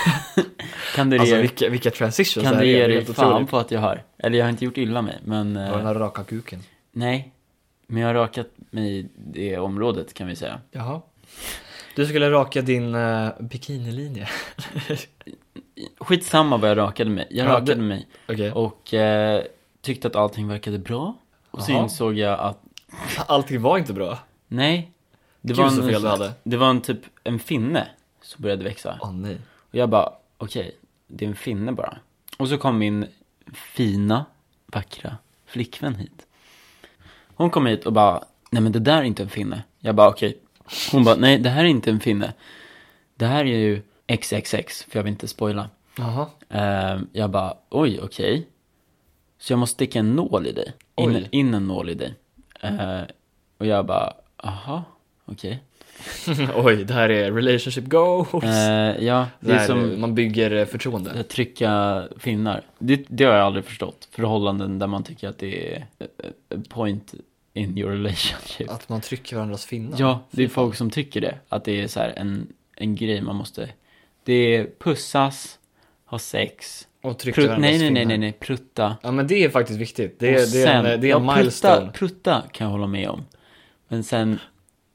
kan du Alltså ge, vilka, vilka transitions kan det här du är, ge det är dig helt fan otroligt. på att jag har? Eller jag har inte gjort illa mig, men... Det eh, var den här raka kuken. nej. Men jag har rakat mig i det området, kan vi säga. Jaha. Du skulle raka din eh, bikinilinje. Skitsamma vad jag rakade mig. Jag Ja, rakade det- mig Okej. och eh, tyckte att allting verkade bra. Och så Jaha. insåg jag att, Allting var inte bra. nej. Det Gud, så fel du hade. Det var en typ, en finne som började växa. Åh nej. Och jag bara, okej, det är en finne bara. Och så kom min fina, vackra flickvän hit. Hon kom hit och bara, nej men det där är inte en finne. Jag bara, okej. Hon bara, nej det här är inte en finne. Det här är ju XXX, för jag vill inte spoila. Jaha. Eh, jag bara, oj, okej. Så jag måste sticka en nål i dig. Ehm, In, Oj. in en nål i dig. Eh, och jag bara, aha, okej. Okej. Oj, det här är relationship goals. Eh, ja, det det är som man bygger eh, förtroende. att trycka finnar. Det, det har jag aldrig förstått. Förhållanden där man tycker att det är eh, eh, point in your relationship. Att man trycker varandras finnar. Ja, det är folk som tycker det. Att det är så här en, en grej man måste... Det är pussas, ha sex, Och trycker prut, varandras nej, nej, nej, finnar. nej, nej, prutta. Ja men det är faktiskt viktigt. Det Och är, det är en, eh, sen- det är en ja, milestone. Prutta, prutta kan jag hålla med om. Men sen,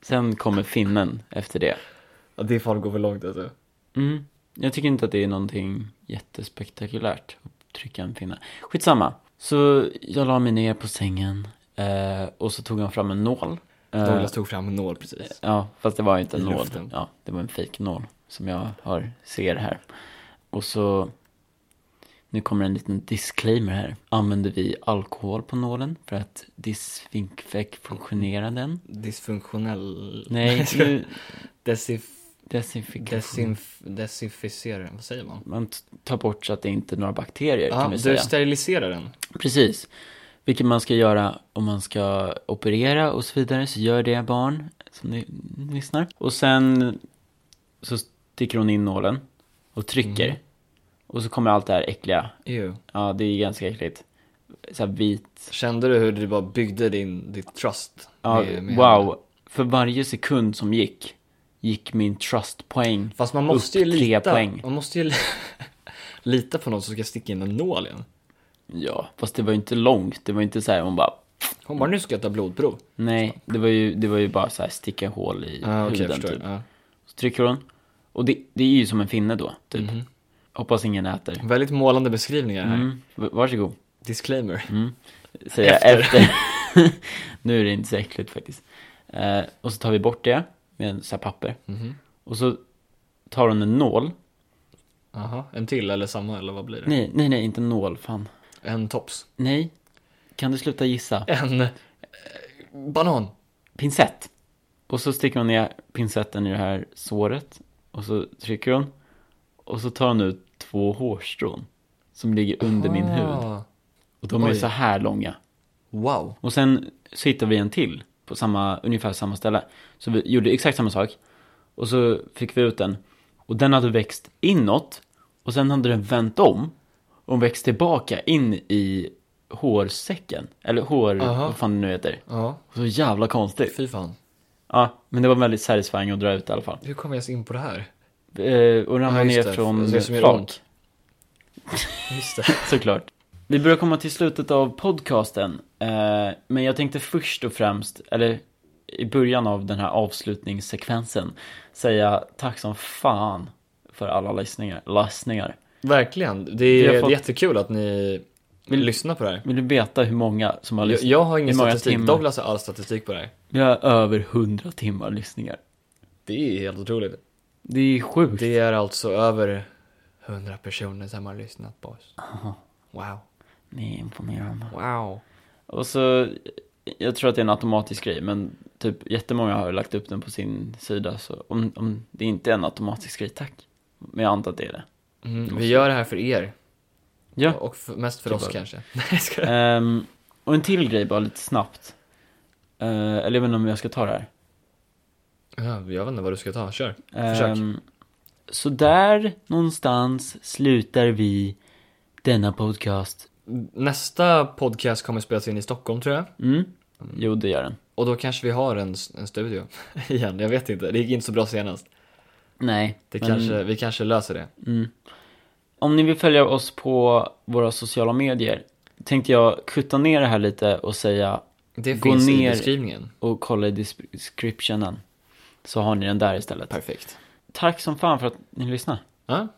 sen kommer finnen efter det. Ja, det fan går väl långt alltså. Mm. Jag tycker inte att det är någonting jättespektakulärt att trycka en pinne. Skitsamma. Så jag la mig ner på sängen eh, och så tog han fram en nål. Eh, Douglas tog fram en nål precis. Ja, fast det var ju inte en I nål. luften. Ja, det var en fejknål som jag har, ser här. Och så, nu kommer en liten disclaimer här. Använder vi alkohol på nålen för att disfunktionera den? Dysfunktionell... Nej, nu, Desinf... desinfikation. Desinf... Desinficera den, vad säger man? Man t- tar bort så att det inte är några bakterier Ja, kan vi du säga. steriliserar den. Precis. Vilket man ska göra om man ska operera och så vidare. Så gör det barn, som ni ni lyssnar. Och sen så sticker hon in nålen och trycker. Mm. Och så kommer allt det här äckliga. Ew. Ja, det är ganska äckligt. Så här vit. Kände du hur du bara byggde din, ditt trust? Ja, med- med henne? wow. För varje sekund som gick, gick min trustpoäng. Fast man måste ju Upp tre lita... poäng. Man måste ju li- lita på någon som ska sticka in en nål igen. Ja, fast det var ju inte långt. Det var ju inte så här, hon bara, Hon Mm. bara, nu ska jag ta blodprov. nej. Det var ju, det var ju bara så här sticka hål i Ja, Ah, okej, jag huden förstår. typ. Ja. Så trycker hon. Och det, det är ju som en finne då, typ. Hoppas ingen äter. Väldigt målande beskrivningar här. Mm. v- Varsågod, Disclaimer. säger jag efter. nu är det inte så äckligt faktiskt. Eh, och så tar vi bort det med en sån här papper. Och så tar hon en nål. Aha, en till eller samma eller vad blir det? Nej, nej, nej, inte en nål, fan. En tops. Nej, kan du sluta gissa? En eh, banan. Pinsett. Och så sticker hon ner pinsetten i det här såret. Och så trycker hon. Och så tar hon ut två hårstrån. Som ligger under min hud. Ah, Och de är Oj. så här långa. Wow. Och sen så hittade vi en till på samma, ungefär samma ställe. Så vi gjorde exakt samma sak. Och så fick vi ut den. Och den hade växt inåt. Och sen hade den vänt om. Och växt tillbaka in i hårsäcken. Eller hår, Aha. vad fan det nu heter. Ja, Och så jävla konstigt. fy fan. Ja, men det var väldigt satisfying att dra ut i alla fall. Hur kom jag ens in på det här? Eh, och ramla Ja, just ner det. från Det som gör flak. ont. Just det. Såklart. Vi börjar komma till slutet av podcasten. Eh, men jag tänkte först och främst, eller i början av den här avslutningssekvensen, säga tack som fan för alla lyssningar. lyssningar. Verkligen. Det Vi har är fått- jättekul att ni vill lyssna på det här. Vill du veta hur många som har Jag, lyssnat? jag har ingen Hur Liksom. många statistik. timmar? Douglas har all statistik på det här. Vi har över 100 timmar lyssningar. Det är helt otroligt. Det är sjukt. Det är alltså över 100 personer som har lyssnat på oss. Wow. Ni är imponerande. Wow. Och så, jag tror att det är en automatisk grej, men typ jättemånga har lagt upp den på sin sida. Så om, om det inte är en automatisk grej, tack. Men jag antar att det är det. Mm, vi gör det här för er. Ja. Och för, mest för Typ oss bara- kanske. Nej, jag skojar. Ehm, och en till grej bara lite snabbt. Eh, eller jag vet inte om jag ska ta det här. Ja, jag vet inte vad du ska ta. Kör. Försök. Ehm, så där någonstans slutar vi denna podcast. Nästa podcast kommer spelas in i Stockholm tror jag. Mm. Jo, det gör den. Och då kanske vi har en, en studio igen. Jag vet inte. Det gick inte så bra senast. Nej, Det men- kanske, vi kanske löser det. Om ni vill följa oss på våra sociala medier tänkte jag kutta ner det här lite och säga Det Gå finns i ner- beskrivningen. och kolla i dis- descriptionen. Så har ni den där istället. Perfekt. Tack som fan för att ni lyssnade. Ja.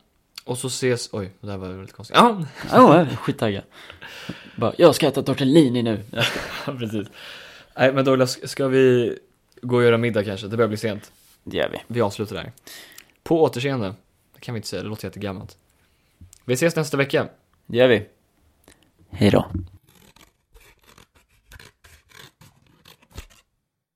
Och så ses... Oj, det där var väldigt konstigt. Ja, Åh, jag är skittaggad. Bara, jag ska äta tortellini nu. precis. Nej, men Douglas, ska vi gå och göra middag kanske? Det börjar bli sent. Det gör vi. Vi avslutar där. På återseende. Det kan vi inte säga, det låter jättegammalt. Vi ses nästa vecka. Det gör vi. Hej då.